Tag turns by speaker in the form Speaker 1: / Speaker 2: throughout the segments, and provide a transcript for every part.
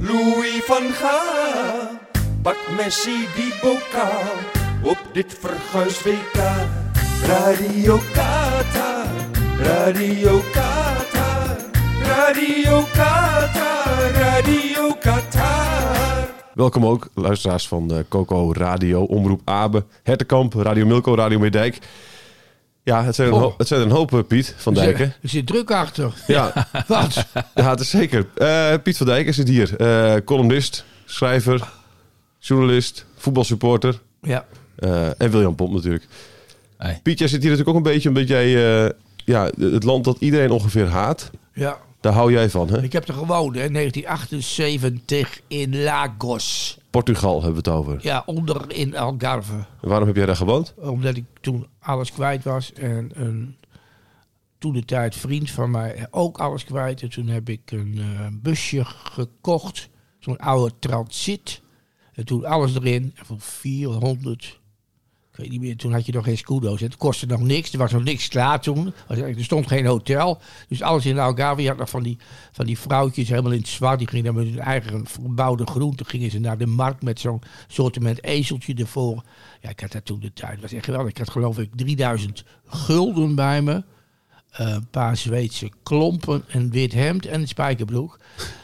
Speaker 1: Louis van Gaal. Pak Messi die bokaal op dit verguis WK. Radio Qatar, Radio Qatar, Radio Qatar, Radio Qatar.
Speaker 2: Welkom ook, luisteraars van eh, Coco Radio, Omroep Abe, Hertekamp, Radio Milko, Radio Meerdijk. Ja, het zijn, een,
Speaker 3: Oh.
Speaker 2: hoop, het zijn een hoop, eh, Piet van Dijk. hè?
Speaker 3: Er zit druk achter.
Speaker 2: Ja,
Speaker 3: Wat?
Speaker 2: ja, het is zeker. Eh, Piet van Dijk is het hier. Eh, columnist, schrijver, journalist, voetbalsupporter
Speaker 3: Ja.
Speaker 2: eh, en William Pomp natuurlijk.
Speaker 4: Hey.
Speaker 2: Piet, jij zit hier natuurlijk ook een beetje omdat jij eh, ja, het land dat iedereen ongeveer haat,
Speaker 3: ja.
Speaker 2: daar hou jij van. Hè?
Speaker 3: Ik heb er gewoond, hè. 1978 in Lagos.
Speaker 2: Portugal hebben we het over.
Speaker 3: Ja, onder in Algarve.
Speaker 2: En Waarom heb jij daar gewoond?
Speaker 3: Omdat ik toen alles kwijt was. En een toen de tijd vriend van mij ook alles kwijt. En toen heb ik een eh, busje gekocht. Zo'n oude transit. En toen alles erin. En voor 400. Ik weet niet meer, toen had je nog geen scudo's. hè. Het kostte nog niks. Er was nog niks klaar toen. Er stond geen hotel. Dus alles in Algarve. Je had nog van die, van die vrouwtjes helemaal in het zwart. Die gingen dan met hun eigen verbouwde groenten. Gingen ze naar de markt met zo'n soortement ezeltje ervoor. Ja, ik had dat toen de tijd. Dat was echt geweldig. Ik had geloof ik 3000 gulden bij me. Eh, een paar Zweedse klompen, een wit hemd en een spijkerbroek.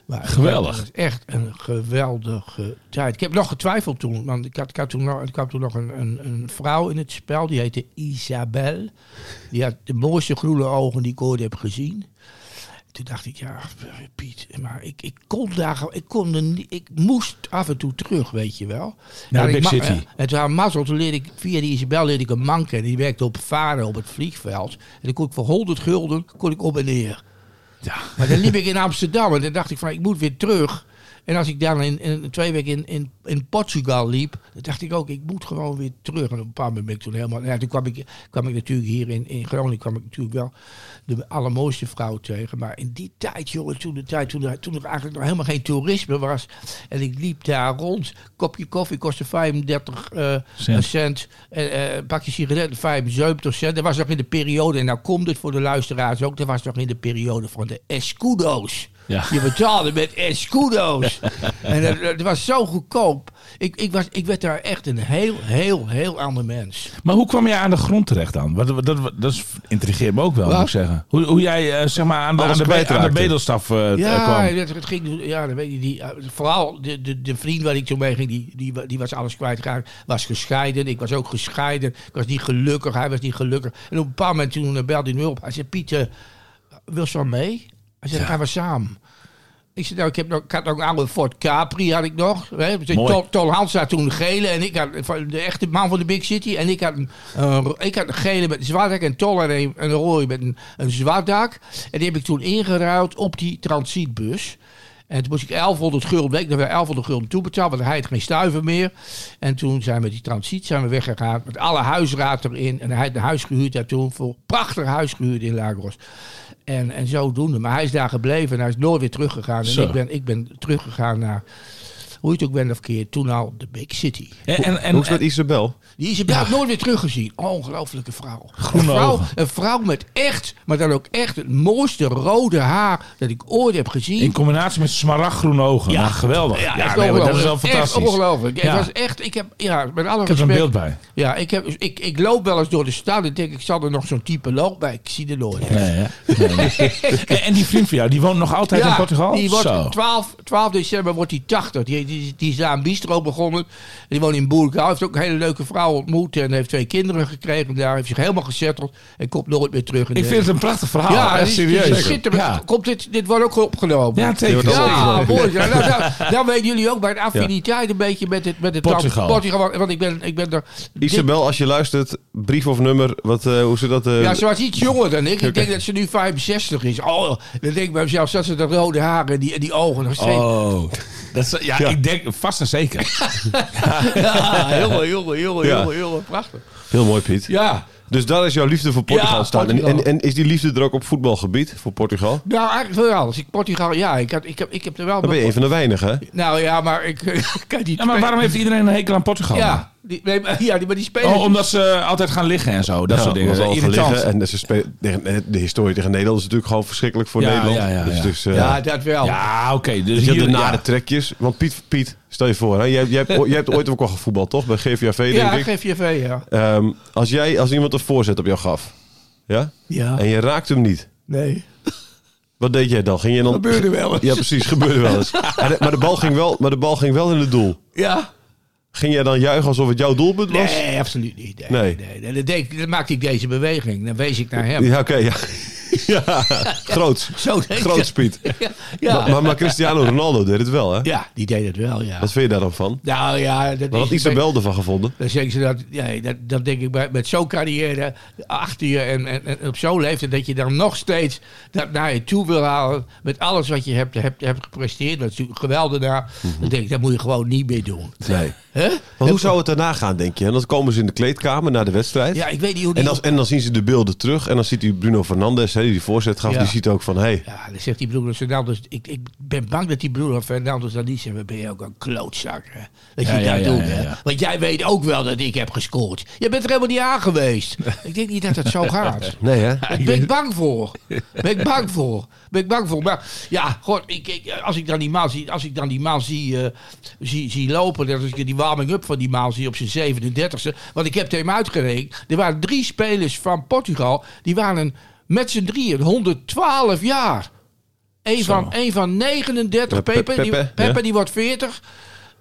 Speaker 3: Maar
Speaker 4: Geweldig.
Speaker 3: Het was echt een geweldige tijd. Ik heb nog getwijfeld toen, want ik had, ik had toen nog, er kwam toen nog een, een, een vrouw in het spel, die heette Isabel. Die had de mooiste groene ogen die ik ooit heb gezien. Toen dacht ik, ja, Piet, maar ik, ik kon daar, gewoon- ik kon er niet, ik moest af en toe terug, weet je wel.
Speaker 4: Naar
Speaker 3: En
Speaker 4: Big
Speaker 3: ik ma-
Speaker 4: City.
Speaker 3: eh, En toen aan mazzel, toen leerde ik, via die Isabel leerde ik een man kennen. Die werkte op varen op het vliegveld. En dan kon ik voor 100 gulden, kon ik op en neer.
Speaker 4: Ja.
Speaker 3: Maar dan liep ik in Amsterdam en dan dacht ik van, ik moet weer terug. En als ik dan in, in twee weken in, in, in Portugal liep, dan dacht ik ook, ik moet gewoon weer terug. En op een bepaald moment ben ik toen helemaal... Ja, toen kwam ik, kwam ik natuurlijk hier in, in Groningen, kwam ik natuurlijk wel de allermooiste vrouw tegen. Maar in die tijd, jongen, toen de tijd, toen, er- toen er eigenlijk nog helemaal geen toerisme was. En ik liep daar rond, kopje koffie kostte 35 eh,
Speaker 4: Cent.
Speaker 3: cent. En, eh, een pakje sigaretten, 75 cent. Dat was nog in de periode, en nou komt het voor de luisteraars ook, dat was nog in de periode van de escudo's.
Speaker 4: Ja.
Speaker 3: Je betaalde met escudo's. en dat, dat was zo goedkoop. Ik, ik, was, ik werd daar echt een heel, heel, heel ander mens.
Speaker 4: Maar hoe kwam jij aan de grond terecht dan? Wat, wat- dat, wat- dat is- intrigeert me ook wel,
Speaker 3: Wat?
Speaker 4: moet ik zeggen. Hoe, hoe jij eh, zeg maar aan de,
Speaker 2: Alles
Speaker 4: aan de, be-
Speaker 2: kwijtraakte.
Speaker 4: aan de bedelstaf eh, eh,
Speaker 3: Ja,
Speaker 4: kwam.
Speaker 3: dat, het ging, ja dan weet je, die, eh, vooral de, de, de vriend waar ik toen mee ging, die, die, wa- die was alles kwijtgeraakt. Was gescheiden, ik was ook gescheiden. Ik was niet gelukkig, hij was niet gelukkig. En op een bepaald moment toen eh, belde hij me op. Hij zei, Piet, eh, wil ze wel mee? Hij zei, gaan we samen. Ik zei, nou, ik, heb nog, ik had nog een oude Ford Capri, had ik nog. Hè? Dus
Speaker 4: Mooi.
Speaker 3: Tol, Tol Hans had toen een gele en ik had van de echte man van de Big City. En ik had een, een ro- ik had een gele met een zwart dak en Tol had een, een rode met een, een zwart dak. En die heb ik toen ingeruild op die transitbus. En toen moest ik 1100 gulden, weet ik nog wel, 1100 gulden toebetaald, want hij had geen stuiver meer. En toen zijn we die transiet zijn we weggegaan met alle huisraad erin. En hij had een huis gehuurd daar toen voor prachtig huis gehuurd in Lagos. En, en zodoende. Maar hij is daar gebleven en hij is nooit weer teruggegaan. En
Speaker 4: Zo.
Speaker 3: ik ben, ik ben teruggegaan naar, hoe je het ook bent of keer, toen al de Big City.
Speaker 4: En,
Speaker 2: Hoe
Speaker 4: en,
Speaker 2: is het
Speaker 4: en-
Speaker 2: met Isabel?
Speaker 3: Die is inderdaad nooit weer teruggezien. Ongelooflijke vrouw.
Speaker 4: Groene
Speaker 3: een, vrouw
Speaker 4: ogen.
Speaker 3: een vrouw met echt, maar dan ook echt het mooiste rode haar dat ik ooit heb gezien.
Speaker 4: in combinatie met smaragdgroene ogen. Ja, geweldig. Ja,
Speaker 3: Ja, echt
Speaker 4: nee, maar dat is
Speaker 3: ongelooflijk.
Speaker 4: wel
Speaker 3: Echt
Speaker 4: fantastisch.
Speaker 3: ongelooflijk.
Speaker 4: Ja.
Speaker 3: Het was echt, ik heb, ja, met alle
Speaker 4: Ik heb er een beeld bij.
Speaker 3: Ja, ik, heb, ik, ik loop wel eens door de stad en denk ik zal er nog zo'n type lopen, maar ik zie er nooit.
Speaker 4: Nee, hè? Nee. en, en die vriend van jou, die woont nog altijd in Portugal?
Speaker 3: die
Speaker 4: Zo.
Speaker 3: wordt 12, 12 december wordt hij 80. Die, die, die is daar een bistro begonnen. Die woont in Boerka. Hij heeft ook een hele leuke vrouw ontmoet en heeft twee kinderen gekregen. Daar heeft zich helemaal gezetteld en komt nooit meer terug. In
Speaker 4: Ik
Speaker 3: de-
Speaker 4: vind het een prachtig verhaal.
Speaker 3: ja,
Speaker 4: echt
Speaker 3: dit is- dit is
Speaker 4: serieus.
Speaker 3: schitterend.
Speaker 4: Ja,
Speaker 3: Komt dit, dit wordt ook opgenomen.
Speaker 4: ja teken.
Speaker 2: Ja,
Speaker 3: Ja, mooi. Ja, nou, nou, dan weten jullie ook mijn affiniteit een beetje met het, met het
Speaker 4: Portugal.
Speaker 3: land Portugal. Want, want ik ben, ik ben er.
Speaker 2: Isabel, als je luistert, brief of nummer, wat, eh, hoe zit dat? eh,
Speaker 3: Ja, ze was iets jonger dan ik. Ik
Speaker 2: Oké.
Speaker 3: denk dat ze nu 65 is. Oh, dan denk ik bij mezelf, dat ze dat rode haar en die, en die ogen nog steeds.
Speaker 4: Oh, Dat is, ja,
Speaker 2: Ja.
Speaker 4: ik denk vast en zeker.
Speaker 3: Ja, jongen, jongen, jongen,
Speaker 2: Ja.
Speaker 3: jongen, jongen, prachtig.
Speaker 2: Heel mooi, Piet.
Speaker 3: Ja,
Speaker 2: Dus daar is jouw liefde voor Portugal
Speaker 3: Ja,
Speaker 2: staan.
Speaker 3: Portugal.
Speaker 2: En, en, en is die liefde er ook op voetbalgebied voor Portugal?
Speaker 3: nou eigenlijk voor alles. Ik Portugal, ja, ik, had, ik, heb, ik heb er wel...
Speaker 2: Dan ben je een van de weinigen. hè?
Speaker 3: Nou ja, maar ik kan niet...
Speaker 4: Ja, Nou, maar waarom heeft iedereen een hekel aan Portugal?
Speaker 3: Ja, die, nee, maar, ja, die, maar die spelers...
Speaker 4: Oh, omdat ze eh, altijd gaan liggen en zo. Dat
Speaker 2: Ja,
Speaker 4: soort dingen.
Speaker 2: omdat we al
Speaker 4: Irritant.
Speaker 2: liggen En ze spelen- tegen- eh, de historie tegen Nederland is natuurlijk gewoon verschrikkelijk voor
Speaker 4: Ja,
Speaker 2: Nederland.
Speaker 4: ja, ja,
Speaker 2: dus,
Speaker 4: ja.
Speaker 2: dus, eh,
Speaker 3: ja, dat wel.
Speaker 4: Ja, oké. dus
Speaker 2: Dus je
Speaker 4: hier,
Speaker 2: hebt de nare
Speaker 4: ja.
Speaker 2: trekjes. Want Piet, Piet stel je voor, hè, jij, jij, hebt, o- jij hebt ooit ook al gevoetbald, toch? Bij GVAV, denk
Speaker 3: ja,
Speaker 2: ik.
Speaker 3: geef je V, ja.
Speaker 2: Ehm, als, jij, als iemand een voorzet op jou gaf, ja?
Speaker 3: Ja,
Speaker 2: en je raakt hem niet,
Speaker 3: nee.
Speaker 2: wat deed jij dan? Ging je dan...
Speaker 3: Gebeurde wel eens.
Speaker 2: Ja, precies, gebeurde wel eens. En de- maar, de bal ging wel, maar de bal ging wel in het doel.
Speaker 3: Ja.
Speaker 2: Ging jij dan juichen alsof het jouw doelpunt was?
Speaker 3: Nee, absoluut niet. Nee,
Speaker 2: Nee.
Speaker 3: nee. nee. Dan, deed ik- dan maakte ik deze beweging. Dan wees ik naar hem.
Speaker 2: Ja, oké, ja. ja. Groot.
Speaker 3: Zo deed
Speaker 2: Groot, Piet.
Speaker 3: Ja, ja.
Speaker 2: Maar, maar Cristiano Ronaldo deed het wel, hè?
Speaker 3: ja, die deed het wel, ja.
Speaker 2: Wat vind je daar dan van?
Speaker 3: Nou ja, dat
Speaker 2: Wat had
Speaker 3: is-
Speaker 2: Isabel ervan gevonden?
Speaker 3: Dan zeggen ze dat, ja, dat, dat denk ik bij, met zo'n carrière achter je en, en, en op zo'n leeftijd dat je dan nog steeds dat naar je toe wil halen met alles wat je hebt, hebt, hebt gepresteerd. Dat is natuurlijk geweldig daar. Dan denk ik, dat moet je gewoon niet meer doen.
Speaker 2: Mhm. Nee.
Speaker 3: hè
Speaker 2: Maar hoe zou het daarna gaan, denk je? En dan komen ze in de kleedkamer na de wedstrijd.
Speaker 3: Ja, ik weet niet hoe die...
Speaker 2: En, als, en dan zien ze de beelden terug. En dan ziet u Bruno Fernandes, hè, die die voorzet gaf,
Speaker 3: Ja.
Speaker 2: die ziet ook van... Hey,
Speaker 3: Ja, dan zegt die Bruno Fernandes... Ik, ik ben bang dat die Bruno Fernandes dan niet zegt... ben je ook een klootzak, hè? Dat
Speaker 4: Ja,
Speaker 3: je
Speaker 4: ja,
Speaker 3: dat
Speaker 4: ja,
Speaker 3: doet,
Speaker 4: ja,
Speaker 3: hè?
Speaker 4: ja.
Speaker 3: Want jij weet ook wel dat ik heb gescoord. Je bent er helemaal niet aan geweest. ik denk niet dat het zo gaat.
Speaker 2: nee hè?
Speaker 3: Daar ben ik bang voor. ben ik bang voor. ben ik bang voor. Maar ja, god, ik, ik- als ik dan die maal zie, als ik dan die maal zie, eh, zie, zie lopen... Dat als ik die warming-up van die maal zie op zijn 37e... Want ik heb hem uitgerekend. Er waren drie spelers van Portugal... die waren met z'n drieën 112 jaar. Eén van, één van 39.
Speaker 2: Ja, Pe-
Speaker 3: Pepe, die,
Speaker 2: Pepe,
Speaker 3: Pepe,
Speaker 2: ja.
Speaker 3: die wordt 40.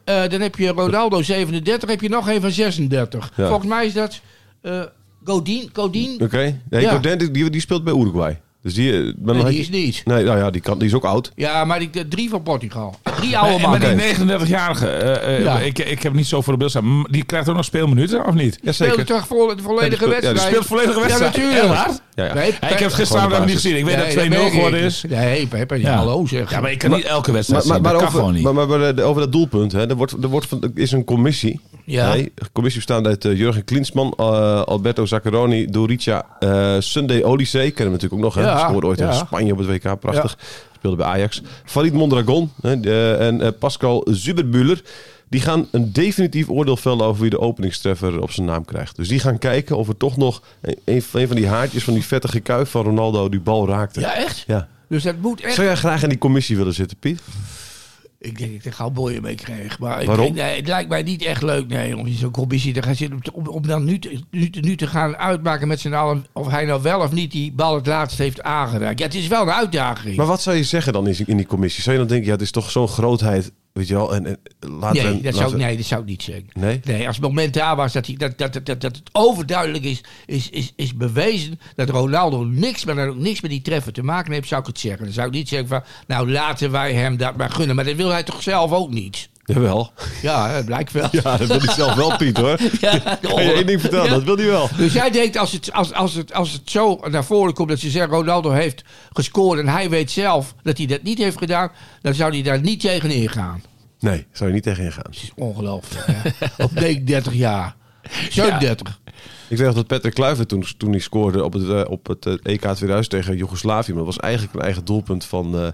Speaker 3: Eh, dan heb je Ronaldo 37. heb je nog één van 36.
Speaker 2: Ja.
Speaker 3: Volgens mij is dat... eh Godin, Godin,
Speaker 2: Oké. Nee,
Speaker 3: Ja.
Speaker 2: Godin, die- die, die speelt bij Uruguay. Dus die... eh, maar dan
Speaker 3: Nee,
Speaker 2: had
Speaker 3: die
Speaker 2: je-
Speaker 3: is niet.
Speaker 2: Nee, nou ja, die, kan, die is ook oud.
Speaker 3: Ja, maar die, de drie van Portugal. Ah, Drie
Speaker 4: En
Speaker 3: oude
Speaker 4: maar
Speaker 3: mannen.
Speaker 4: die 39-jarige, eh, eh,
Speaker 3: Ja.
Speaker 4: ik, ik heb niet zo voor de beeld staan. M- Die krijgt ook nog speelminuten, of niet?
Speaker 3: Speelde
Speaker 2: Jazeker.
Speaker 3: toch voor de volledige
Speaker 2: Ja, die speelt- ja, die
Speaker 3: wedstrijd?
Speaker 4: Die speelt volledige
Speaker 3: Ja,
Speaker 4: wedstrijd.
Speaker 3: natuurlijk.
Speaker 4: Echt waar?
Speaker 2: Ja, ja.
Speaker 3: Nee,
Speaker 4: Hey, ik heb het gisteravond
Speaker 2: Gewoon de basis.
Speaker 4: nog niet gezien. Ik weet
Speaker 3: Nee,
Speaker 4: dat 2-0
Speaker 3: merk ik.
Speaker 4: geworden is.
Speaker 3: Nee, Pepe, ja.
Speaker 4: Ja.
Speaker 3: hallo zeg.
Speaker 4: Ja, maar ik kan niet elke wedstrijd
Speaker 2: Maar, maar,
Speaker 4: zien.
Speaker 2: maar,
Speaker 4: Dat kan
Speaker 2: over,
Speaker 4: gewoon niet.
Speaker 2: maar, maar, maar, eh, over dat doelpunt, hè, er, wordt, er, wordt van, er is een commissie.
Speaker 3: Ja.
Speaker 2: Nee, een commissie bestaande uit eh, Jurgen Klinsman, eh, Alberto Zaccheroni, Dorica, eh Sunday Olise. Kennen we natuurlijk ook nog. Hè?
Speaker 3: Ja,
Speaker 2: Scoorde ooit
Speaker 3: ja.
Speaker 2: in Spanje op het WK, prachtig. Speelde bij Ajax. Farid Mondragon hè, de- en eh, Pascal Zuberbuller. Die gaan een definitief oordeel vellen over wie de openingstreffer op zijn naam krijgt. Dus die gaan kijken of er toch nog een, een van- een van die haartjes van die vettige kuif van Ronaldo die bal raakte.
Speaker 3: Ja, echt?
Speaker 2: Ja.
Speaker 3: Dus dat moet echt.
Speaker 2: Zou jij graag in die commissie willen zitten, Piet?
Speaker 3: Ik denk dat ik er gauw boeien mee kreeg. Maar ik
Speaker 2: Waarom?
Speaker 3: denk, nee, het lijkt mij niet echt leuk nee, om in zo'n commissie te gaan zitten. Om, te- om, om dan nu te, nu, te- nu te gaan uitmaken met z'n allen of hij nou wel of niet die bal het laatst heeft aangeraakt. Ja, het is wel een uitdaging.
Speaker 2: Maar wat zou je zeggen dan in in die commissie? Zou je dan denken, ja, het is toch zo'n grootheid, weet je wel? En, en laten we-
Speaker 3: nee, dat zou,
Speaker 2: laten
Speaker 3: ik-
Speaker 2: we-
Speaker 3: nee, dat zou ik niet zeggen.
Speaker 2: Nee?
Speaker 3: als het moment daar was dat, hij, dat, dat, dat, dat, dat het overduidelijk is, is, is, is bewezen dat Ronaldo niks, maar dan ook niks met die treffer te maken heeft, zou ik het zeggen. Dan zou ik niet zeggen van, nou laten wij hem dat maar gunnen. Maar dat wil hij toch zelf ook niet?
Speaker 2: Jawel.
Speaker 3: Ja, dat blijkt wel.
Speaker 2: Ja, dat wil hij zelf wel, Piet, hoor.
Speaker 3: Ja,
Speaker 2: Kan je één ding vertellen,
Speaker 3: Ja.
Speaker 2: dat wil hij wel.
Speaker 3: Dus jij denkt als het, als, als, het, als het zo naar voren komt dat ze zeggen Ronaldo heeft gescoord en hij weet zelf dat hij dat niet heeft gedaan, dan zou hij daar niet tegen ingaan.
Speaker 2: Nee, zou je niet tegenin gaan.
Speaker 3: Het is ongelooflijk. hè? Op 39 jaar. 37.
Speaker 2: Ik weet nog dat Patrick Kluivert toen, toen hij scoorde op het, eh, op het eh, EK 2000 tegen Joegoslavië. Maar dat was eigenlijk een eigen doelpunt van eh,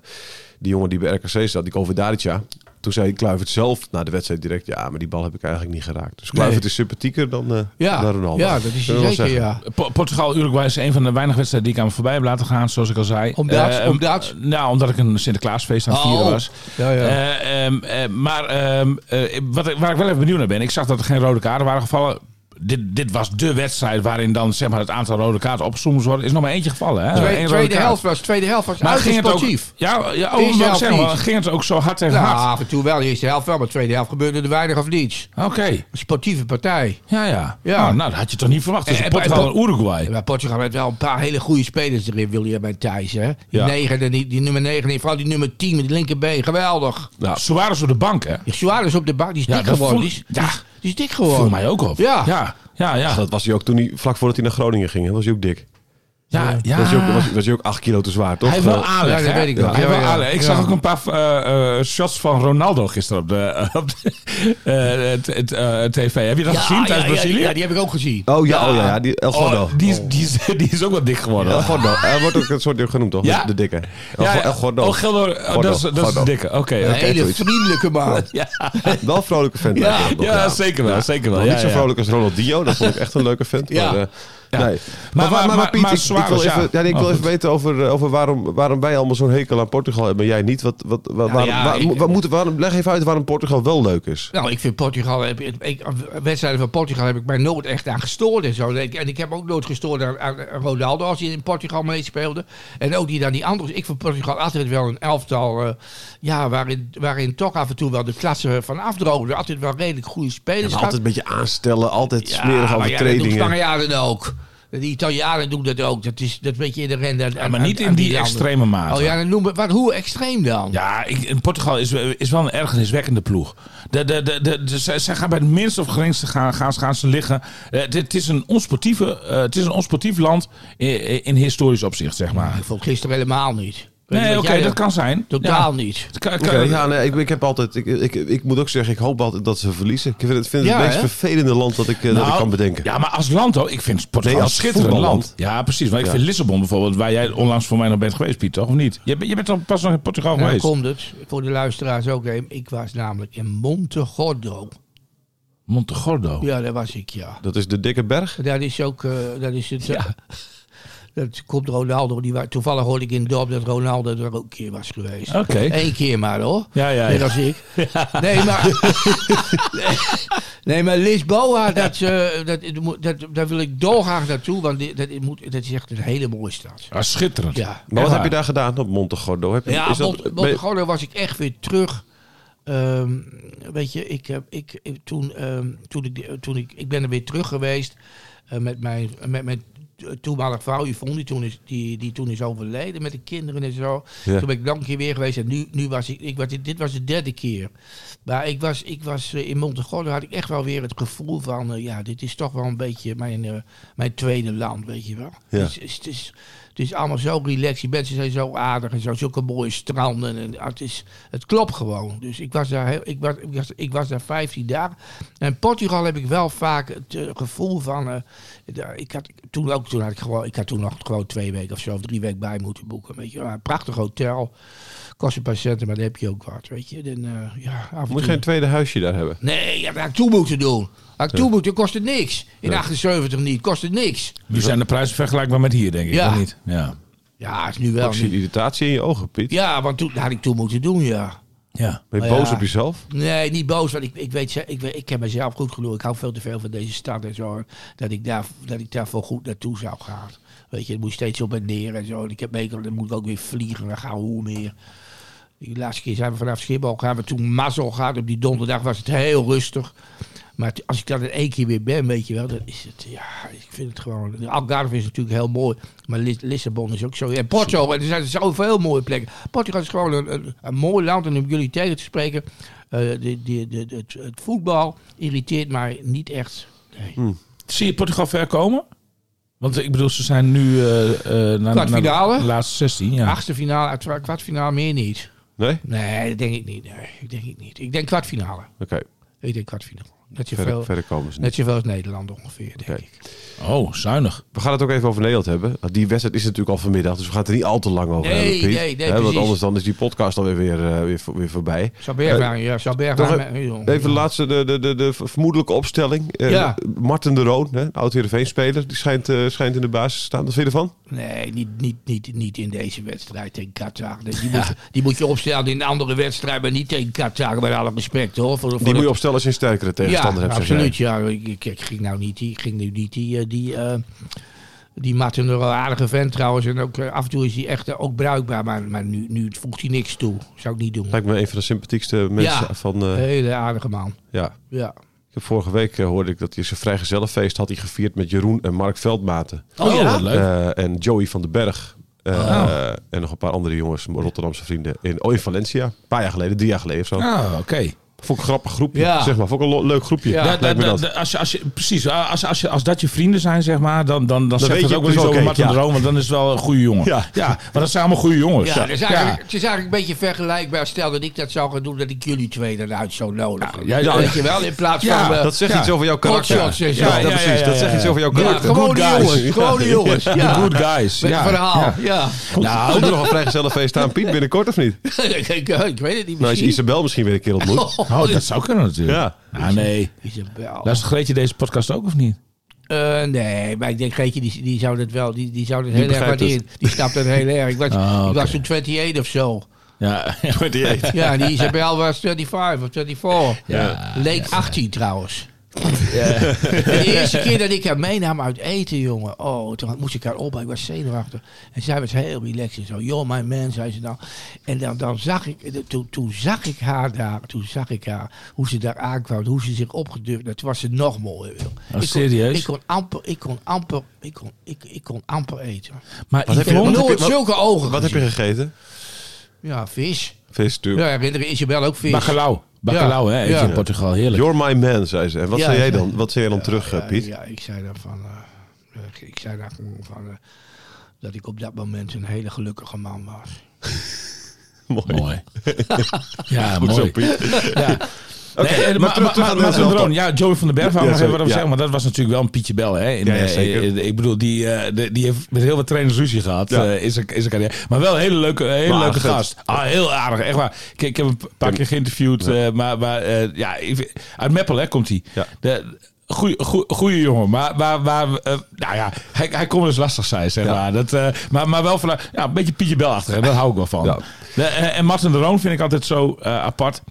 Speaker 2: die jongen die bij RKC zat, die Covidarica. Toen zei Kluivert zelf na de wedstrijd direct, ja, maar die bal heb ik eigenlijk niet geraakt. Dus Kluivert is sympathieker dan, eh
Speaker 3: Ja,
Speaker 2: dan Ronaldo.
Speaker 3: ja, dat is
Speaker 2: Kunnen we wel
Speaker 3: hij zeker,
Speaker 2: zeggen.
Speaker 3: ja.
Speaker 4: Po- Portugal-Uruguay is een van de weinige wedstrijden die ik aan me voorbij heb laten gaan, zoals ik al zei.
Speaker 3: Omdat?
Speaker 4: Eh,
Speaker 3: Omdat?
Speaker 4: Nou, omdat ik een Sinterklaasfeest aan het vieren
Speaker 3: Oh.
Speaker 4: was.
Speaker 3: Ja, ja.
Speaker 4: Eh, ehm, eh, maar ehm, eh, wat, ik- waar ik wel even benieuwd naar ben, ik zag dat er geen rode kaarten waren gevallen. Dit, dit was de wedstrijd waarin dan zeg maar, het aantal rode kaarten opgezoomd wordt. Er is nog maar eentje gevallen. Hè? Eén
Speaker 3: Twee,
Speaker 4: rode
Speaker 3: tweede,
Speaker 4: kaart.
Speaker 3: helft was, tweede helft was
Speaker 4: Maar
Speaker 3: maar
Speaker 4: ging het ook,
Speaker 3: sportief.
Speaker 4: ja, ja,
Speaker 3: Eerste
Speaker 4: oh, wou ik
Speaker 3: helft
Speaker 4: zeggen, maar
Speaker 3: niet.
Speaker 4: ging het ook zo hard tegen
Speaker 3: Nou,
Speaker 4: hard?
Speaker 3: af en toe wel. Eerste helft wel, maar tweede helft gebeurde er weinig of niets.
Speaker 4: Oké,
Speaker 3: Een sportieve partij.
Speaker 4: ja, ja.
Speaker 3: Ja. Eh,
Speaker 4: Nou, nou, dat had je toch niet verwacht. Dus
Speaker 3: En- en-
Speaker 4: Portugal
Speaker 3: en-
Speaker 4: en Uruguay.
Speaker 3: Maar Portugal heeft wel een paar hele goede spelers erin, William en Thijs. Hè? Die,
Speaker 4: Ja.
Speaker 3: negen, en die, die nummer 9 en vooral die nummer 10 met die linkerbeen. Geweldig.
Speaker 4: Nou, Suarez op de bank, hè?
Speaker 3: Die Suarez op de bank, die is
Speaker 4: Ja,
Speaker 3: dik
Speaker 4: dat
Speaker 3: geworden.
Speaker 4: voel-
Speaker 3: die, is,
Speaker 4: ja.
Speaker 3: die, is, die is dik geworden.
Speaker 4: Viel mij ook op.
Speaker 3: Ja.
Speaker 4: Ja, ja. ja.
Speaker 2: Dat was hij ook toen hij, vlak voordat hij naar Groningen ging, hè, was hij ook dik.
Speaker 4: Ja, ja.
Speaker 2: Was, je ook, was, was je ook acht kilo te zwaar, toch?
Speaker 4: Hij heeft wel
Speaker 2: Eh,
Speaker 4: aanleg,
Speaker 3: Ja, dat
Speaker 4: hè?
Speaker 3: weet ik wel.
Speaker 4: Hij heeft
Speaker 3: Ja,
Speaker 4: wel
Speaker 3: ja,
Speaker 4: aanleg. Ik
Speaker 3: ja.
Speaker 4: zag ook een paar eh, eh, shots van Ronaldo gisteren op de, op de, eh, het- het, eh, tv. Heb je dat gezien tijdens
Speaker 3: ja,
Speaker 4: Brazilië?
Speaker 3: Ja, die heb ik ook gezien.
Speaker 2: Oh ja, oh, ja, ja die El Gordo.
Speaker 4: Oh, die, is, die, is, die is ook wat dik geworden.
Speaker 2: El
Speaker 4: hoor.
Speaker 2: Gordo. Hij wordt ook een soort genoemd, toch?
Speaker 4: Ja?
Speaker 2: De dikke. El,
Speaker 4: Ja, ja.
Speaker 2: El Gordo.
Speaker 4: Oh, Geldo. Oh,
Speaker 2: Gordo.
Speaker 4: dat is, dat is
Speaker 2: Gordo.
Speaker 4: de dikke. Oké.
Speaker 3: Een
Speaker 4: oké.
Speaker 3: hele
Speaker 2: zoiets.
Speaker 3: vriendelijke man.
Speaker 2: Wel een vrolijke vent.
Speaker 4: Ja,
Speaker 2: eigenlijk nog,
Speaker 4: ja, zeker wel. Zeker wel.
Speaker 2: Nog
Speaker 4: Ja,
Speaker 2: niet zo
Speaker 4: ja.
Speaker 2: vrolijk als Ronaldinho. Dat vond ik echt een leuke vent.
Speaker 3: Ja.
Speaker 2: Maar, eh, Nee.
Speaker 4: maar- maar- maar
Speaker 2: ik, ik wil
Speaker 4: Suarez,
Speaker 2: even,
Speaker 4: ja.
Speaker 2: ja, nee, ik
Speaker 4: Oh,
Speaker 2: wil even
Speaker 4: goed.
Speaker 2: weten over, eh, over waarom, waarom wij allemaal zo'n hekel aan Portugal hebben en jij niet. Wat, wat, wat- waarom,
Speaker 3: ja,
Speaker 2: waar-
Speaker 3: ik-
Speaker 2: mo- waar moeten- waarom- leg even uit waarom Portugal wel leuk is.
Speaker 3: Nou, ik vind Portugal. heb- Ik, wedstrijden van Portugal heb ik mij nooit echt aan gestoord en zo. En ik, en ik heb ook nooit gestoord aan, aan Ronaldo als hij in Portugal meespeelde. En ook niet aan die anderen. Ik vind Portugal altijd wel een elftal. eh, ja, waarin, waarin toch af en toe wel de klasse van afdroogde. Altijd wel redelijk goede spelers. gehad.
Speaker 2: altijd een beetje aanstellen, altijd smerige
Speaker 3: maar ja, dat doen
Speaker 2: overtredingen.
Speaker 3: Spanjaarden ook. De Italianen doen dat ook. Dat is dat weet je in de rende.
Speaker 4: Ja, maar niet in die extreme mate.
Speaker 3: Oh ja, dan noemen, wat, hoe extreem dan?
Speaker 4: Ja, ik, in Portugal is, is wel een ergerniswekkende ploeg. De, de, de, de, de- ze, ze gaan bij het minste of geringste gaan, gaan, gaan ze liggen. Eh, dit- het, is een onsportieve, eh, het is een onsportief land in, in historisch opzicht, zeg maar.
Speaker 3: Ik vond gisteren helemaal niet. Weet je
Speaker 4: Nee,
Speaker 3: wat
Speaker 4: oké,
Speaker 3: jij
Speaker 4: dat
Speaker 3: dan-
Speaker 4: kan zijn.
Speaker 3: Totaal
Speaker 4: Ja.
Speaker 3: niet.
Speaker 4: Het kan- het
Speaker 2: Oké,
Speaker 4: kan-
Speaker 2: ja, nee, ik, ik heb altijd, ik, ik, ik moet ook zeggen, ik hoop altijd dat ze verliezen. Ik vind het, vind het,
Speaker 3: Ja,
Speaker 2: het meest
Speaker 3: hè?
Speaker 2: vervelende land dat ik, eh, dat
Speaker 4: Nou,
Speaker 2: ik kan bedenken.
Speaker 4: Ja, maar als land ook. Ik vind Portugal
Speaker 2: Nee,
Speaker 4: een
Speaker 2: als
Speaker 4: schitterend
Speaker 2: voetballand.
Speaker 4: land. Ja, precies. Maar ik
Speaker 2: Ja.
Speaker 4: vind Lissabon bijvoorbeeld, waar jij onlangs voor mij nog bent geweest, Piet, toch? Of niet? Je, bent- je bent toch pas nog in Portugal
Speaker 3: Nou,
Speaker 4: geweest?
Speaker 3: komt het. Voor de luisteraars ook even. Ik was namelijk in Montegordo.
Speaker 4: Montegordo.
Speaker 3: Ja, daar was ik, ja.
Speaker 2: Dat is de dikke berg.
Speaker 3: Dat is ook... eh, dat is het... eh, Dat komt Ronaldo. Die, wa- toevallig hoorde ik in het dorp dat Ronaldo er ook een keer was geweest.
Speaker 4: Oké.
Speaker 3: Eén keer maar hoor.
Speaker 4: Ja, ja,
Speaker 3: Net
Speaker 4: ja.
Speaker 3: als ik. Nee, maar... nee, maar Lisboa, dat, eh, dat, dat, daar wil ik dolgraag naartoe. Want dit- dat, moet, dat is echt een hele mooie stad.
Speaker 4: Ah, schitterend.
Speaker 3: Ja.
Speaker 2: Maar
Speaker 4: Echt
Speaker 2: wat
Speaker 4: waar.
Speaker 2: heb je daar gedaan op Montegordo? Heb je,
Speaker 3: Ja,
Speaker 2: is dat-
Speaker 3: Mont-
Speaker 2: ben-
Speaker 3: Montegordo was ik echt weer terug. Ehm, weet je, ik, heb, ik, ik- toen, ehm, toen, ik, toen ik, ik ben er weer terug geweest eh, met mijn, met mijn toenmalige vrouw Yvonne, die toen, is, die, die toen is overleden met de kinderen en zo.
Speaker 2: Ja.
Speaker 3: Toen ben ik nog een keer weer geweest en nu, nu was ik, ik was, dit was de derde keer. Maar ik was, ik was eh, in Montegordo, had ik echt wel weer het gevoel van, eh, ja, dit is toch wel een beetje mijn, eh, mijn tweede land, weet je wel. Dus
Speaker 2: Ja.
Speaker 3: Het, is, het, is, het is allemaal zo relaxed, die mensen zijn zo aardig en zo, zulke mooie stranden. En, ah, het, is, het klopt gewoon. Dus ik was, daar heel, ik, was, ik, was, ik was daar 15 dagen. En Portugal heb ik wel vaak het eh, gevoel van, eh, daar- ik had toen ook, toen had ik gewoon, ik had toen nog gewoon twee weken of zo, of drie weken bij moeten boeken, weet je wel. Een prachtig hotel, kost een paar centen, maar dan heb je ook wat, weet je. Dan, eh, ja, af en
Speaker 2: Moet je
Speaker 3: toe-
Speaker 2: geen tweede huisje daar hebben?
Speaker 3: Nee, dat had ik toe moeten doen. Had ik toe moeten, kost het niks. In 78 niet, kost het niks.
Speaker 4: Nu zijn de prijzen vergelijkbaar met hier, denk ik.
Speaker 3: Ja.
Speaker 4: of niet? ja.
Speaker 3: Ja, is nu wel
Speaker 2: Ik zie
Speaker 3: niet.
Speaker 2: irritatie in je ogen, Piet.
Speaker 3: Ja, want toen dat had ik toe moeten doen, ja.
Speaker 4: ja.
Speaker 2: Ben je
Speaker 3: Maar
Speaker 2: boos
Speaker 3: ja.
Speaker 2: op jezelf?
Speaker 3: Nee, niet boos, want ik, ik weet, ze- ik, weet- ik ken mezelf goed genoeg. Ik hou veel te veel van deze stad en zo. Dat ik, daar, dat ik daarvoor goed naartoe zou gaan. Weet je, het moet steeds op en neer en zo. En ik heb meegekomen, dan moet ik ook weer vliegen. Dan gaan we hoe meer. De laatste keer zijn we vanaf Schiphol gaan we toen mazzel gehad. Op die donderdag was het heel rustig. Maar t- als ik dan in één keer weer ben, weet je wel, dan is het, ja, ik vind het gewoon... de Algarve is natuurlijk heel mooi, maar Lis- Lissabon is ook zo. En Porto, en er zijn zoveel mooie plekken. Portugal is gewoon een, een, een mooi land en om jullie tegen te spreken, eh, de, de, de, de- het, het voetbal irriteert mij niet echt. Nee.
Speaker 4: Zie je Portugal ver komen? Want eh, ik bedoel, ze zijn nu eh eh naar,
Speaker 3: Kwartfinale?
Speaker 4: naar de laatste 16. Ja.
Speaker 3: Achtste finale, uiteraard kwartfinale, meer niet.
Speaker 2: Nee?
Speaker 3: Nee, dat denk ik niet. Nee, ik denk ik niet. Ik denk kwartfinale.
Speaker 2: Oké,
Speaker 3: Ik denk kwartfinale. Net
Speaker 2: verder,
Speaker 3: zoveel,
Speaker 2: verder komen ze niet.
Speaker 3: net zoveel als Nederland ongeveer, denk
Speaker 2: Oké.
Speaker 3: ik.
Speaker 4: Oh, zuinig.
Speaker 2: We gaan het ook even over Nederland hebben. Want Die wedstrijd is natuurlijk al vanmiddag, dus we gaan het er niet al te lang over
Speaker 3: Nee,
Speaker 2: hebben, Piet.
Speaker 3: nee, nee,
Speaker 2: Hè, want
Speaker 3: precies.
Speaker 2: anders dan is die podcast alweer weer, eh, weer, voor- weer voorbij.
Speaker 3: Zou Bergwijn, ja, zou
Speaker 2: Toch
Speaker 3: Bergwijn...
Speaker 2: Eh, Even de laatste, de, de, de, de vermoedelijke opstelling. Eh,
Speaker 3: Ja.
Speaker 2: Martin de Roon, hè, oud-Heerenveen-speler, die schijnt, eh, schijnt in de basis te staan. Wat vind je ervan?
Speaker 3: Nee, niet, niet, niet, niet in deze wedstrijd tegen Qatar. Die, moet, die moet je opstellen in een andere wedstrijd, maar niet tegen Qatar. Met alle respect hoor. Voor, voor
Speaker 2: Die moet
Speaker 3: de-
Speaker 2: je opstellen als je een sterkere tegenstander
Speaker 3: ja,
Speaker 2: hebt, zeg jij.
Speaker 3: absoluut. Ja, ik, ik- ik ging nou niet die, ik ging nu niet die, eh, die, eh, die Martin een aardige vent trouwens. En ook, eh, af en toe is hij echt eh, ook bruikbaar, maar, maar nu, nu voegt hij niks toe. Zou ik niet doen.
Speaker 2: Lijkt me een van de sympathiekste mensen
Speaker 3: Ja.
Speaker 2: van... eh,
Speaker 3: Hele aardige man.
Speaker 2: ja.
Speaker 3: Ja.
Speaker 2: Ik heb vorige week eh, hoorde ik dat hij zijn vrijgezellenfeest had hij gevierd met Jeroen en Mark Veldmaten.
Speaker 4: Oh, wat leuk.
Speaker 2: Eh, en Joey van den Berg. Eh, En nog een paar andere jongens, Rotterdamse vrienden. In, oh, in Valencia. Een paar jaar geleden, drie jaar geleden of zo.
Speaker 4: Ah, oké.
Speaker 2: Vond ik een grappig groepje,
Speaker 3: Ja.
Speaker 2: zeg maar. Vond ik een lo- leuk groepje,
Speaker 3: Ja.
Speaker 4: Ja,
Speaker 2: lijkt me
Speaker 4: da- da-
Speaker 2: dat.
Speaker 4: da- als je, als je, precies, als, als, je, als dat je vrienden zijn, zeg maar, dan, dan, dan, zegt
Speaker 2: weet
Speaker 4: dat
Speaker 2: je,
Speaker 4: ook wel
Speaker 2: het
Speaker 4: iets
Speaker 2: is
Speaker 4: over
Speaker 2: oké,
Speaker 4: Martin
Speaker 2: ja.
Speaker 4: de Roon, want dan is het wel een goede jongen.
Speaker 2: Ja.
Speaker 4: Ja, maar dat zijn allemaal goede jongens.
Speaker 3: Ja, dat is
Speaker 4: Ja.
Speaker 3: eigenlijk, het is eigenlijk een beetje vergelijkbaar. Stel dat ik dat zou gaan doen, dat ik jullie twee eruit zou nodigen.
Speaker 4: Ja,
Speaker 3: Ja,
Speaker 4: ja,
Speaker 3: weet je wel, in plaats
Speaker 4: Ja,
Speaker 3: van... eh,
Speaker 2: Dat zegt
Speaker 4: Ja.
Speaker 2: iets over jouw karakter.
Speaker 3: Hotshots en zo.
Speaker 2: Ja,
Speaker 3: Ja,
Speaker 4: ja,
Speaker 2: precies.
Speaker 4: ja,
Speaker 2: Dat
Speaker 4: ja,
Speaker 2: zegt iets
Speaker 4: ja.
Speaker 2: over jouw
Speaker 3: Ja,
Speaker 2: karakter.
Speaker 3: gewoon
Speaker 4: Good
Speaker 3: die
Speaker 4: guys.
Speaker 3: jongens. Gewoon die jongens.
Speaker 4: The
Speaker 3: Ja.
Speaker 4: good guys.
Speaker 3: Met
Speaker 4: ja.
Speaker 3: het verhaal, ja.
Speaker 4: Ja.
Speaker 2: Nou, ook nog een vrijgezellenfeest aan Piet binnenkort, of niet?
Speaker 3: ik, ik- ik weet het niet
Speaker 2: Nou, als je
Speaker 3: misschien.
Speaker 2: Isabel misschien weer een keer ontmoet.
Speaker 4: Oh, dat zou kunnen natuurlijk.
Speaker 2: Ja.
Speaker 4: Ah, nee.
Speaker 3: Isabel.
Speaker 4: Luistert Greetje deze podcast ook of niet?
Speaker 3: Eh, nee, maar ik denk Greetje, die, die zou dat wel, die, die zou dat heel erg
Speaker 2: begrijpt
Speaker 3: waarderen. Die snapt dat heel erg. Ik was,
Speaker 4: Ah,
Speaker 3: ik
Speaker 4: oké.
Speaker 3: was toen 28 of zo.
Speaker 4: Ja.
Speaker 3: Ja, en die Isabel was 25 of 24.
Speaker 4: Ja.
Speaker 3: Leek 18 trouwens. En de eerste keer dat ik haar meenam uit eten, jongen. Oh, toen moest ik haar op. Ik was zenuwachtig. En zij was heel relaxed en zo. Yo, my man, zei ze dan. En dan, dan zag ik, de- toen, toen zag ik haar daar, toen zag ik haar, hoe ze daar aankwam, hoe ze zich opgedurfd had. Toen was ze nog mooier, joh. ik
Speaker 4: serieus?
Speaker 3: Kon, ik kon amper, ik kon amper, ik kon, ik, ik kon amper eten.
Speaker 4: Maar
Speaker 2: Wat heb je-
Speaker 3: Ik heb
Speaker 2: wat
Speaker 4: Yvonne,
Speaker 2: heb
Speaker 3: nooit
Speaker 2: wat-
Speaker 3: zulke ogen
Speaker 2: Wat heb je
Speaker 3: gezien.
Speaker 2: gegeten?
Speaker 3: Ja, vis.
Speaker 2: Vis, natuurlijk.
Speaker 3: Ja, herinner je Isabel ook vis.
Speaker 4: Bacalhau. Bacalhau,
Speaker 3: Ja.
Speaker 4: hè? Even
Speaker 3: Ja.
Speaker 4: in Portugal, heerlijk.
Speaker 2: You're my man, zei ze. En wat
Speaker 3: Ja,
Speaker 2: zei jij
Speaker 3: ja.
Speaker 2: dan, wat zei jij dan terug, eh,
Speaker 3: Ja,
Speaker 2: Piet?
Speaker 3: Ja, ik zei daarvan. eh, ik- ik zei daar gewoon van. eh, dat ik op dat moment een hele gelukkige man was.
Speaker 2: Mooi.
Speaker 4: Mooi. ja,
Speaker 2: Goed
Speaker 4: mooi.
Speaker 2: zo, Piet.
Speaker 4: Ja.
Speaker 2: Oké,
Speaker 4: Nee, eh,
Speaker 2: maar
Speaker 4: maar,
Speaker 2: terug-
Speaker 4: maar,
Speaker 2: terug aan
Speaker 4: maar-
Speaker 2: de
Speaker 4: maar
Speaker 2: Nederland
Speaker 4: Droon,
Speaker 2: dan.
Speaker 4: ja, Joey van den Berg,
Speaker 2: Ja,
Speaker 4: wou ik nog
Speaker 2: sorry,
Speaker 4: even wat
Speaker 2: ja.
Speaker 4: over zeggen, want dat was natuurlijk wel een Pietje Bel. Hè, in,
Speaker 2: Ja, ja,
Speaker 4: eh,
Speaker 2: zeker.
Speaker 4: eh, ik bedoel, die, eh, de- die heeft met heel wat trainers ruzie gehad
Speaker 2: Ja.
Speaker 4: eh, in, zijn, in zijn carrière. Maar wel een hele leuke, een hele
Speaker 2: Maar
Speaker 4: leuke
Speaker 2: aardig
Speaker 4: gast. Ah, heel aardig, echt waar. Ik, ik heb hem een paar keer geïnterviewd, eh, maar, maar eh, ja, ik vind- uit Meppel hè, komt hij.
Speaker 2: Ja.
Speaker 4: De- Goeie, goe- goeie jongen, maar, maar, maar eh, nou ja, hij, hij kon dus lastig zijn, zeg
Speaker 2: Ja.
Speaker 4: maar. Dat, eh, maar, maar wel vanuit, ja, een beetje Pietje Bel-achtig, en daar hou ik wel van.
Speaker 2: Ja.
Speaker 4: De- eh, en Martin de Roon vind ik altijd zo eh, apart.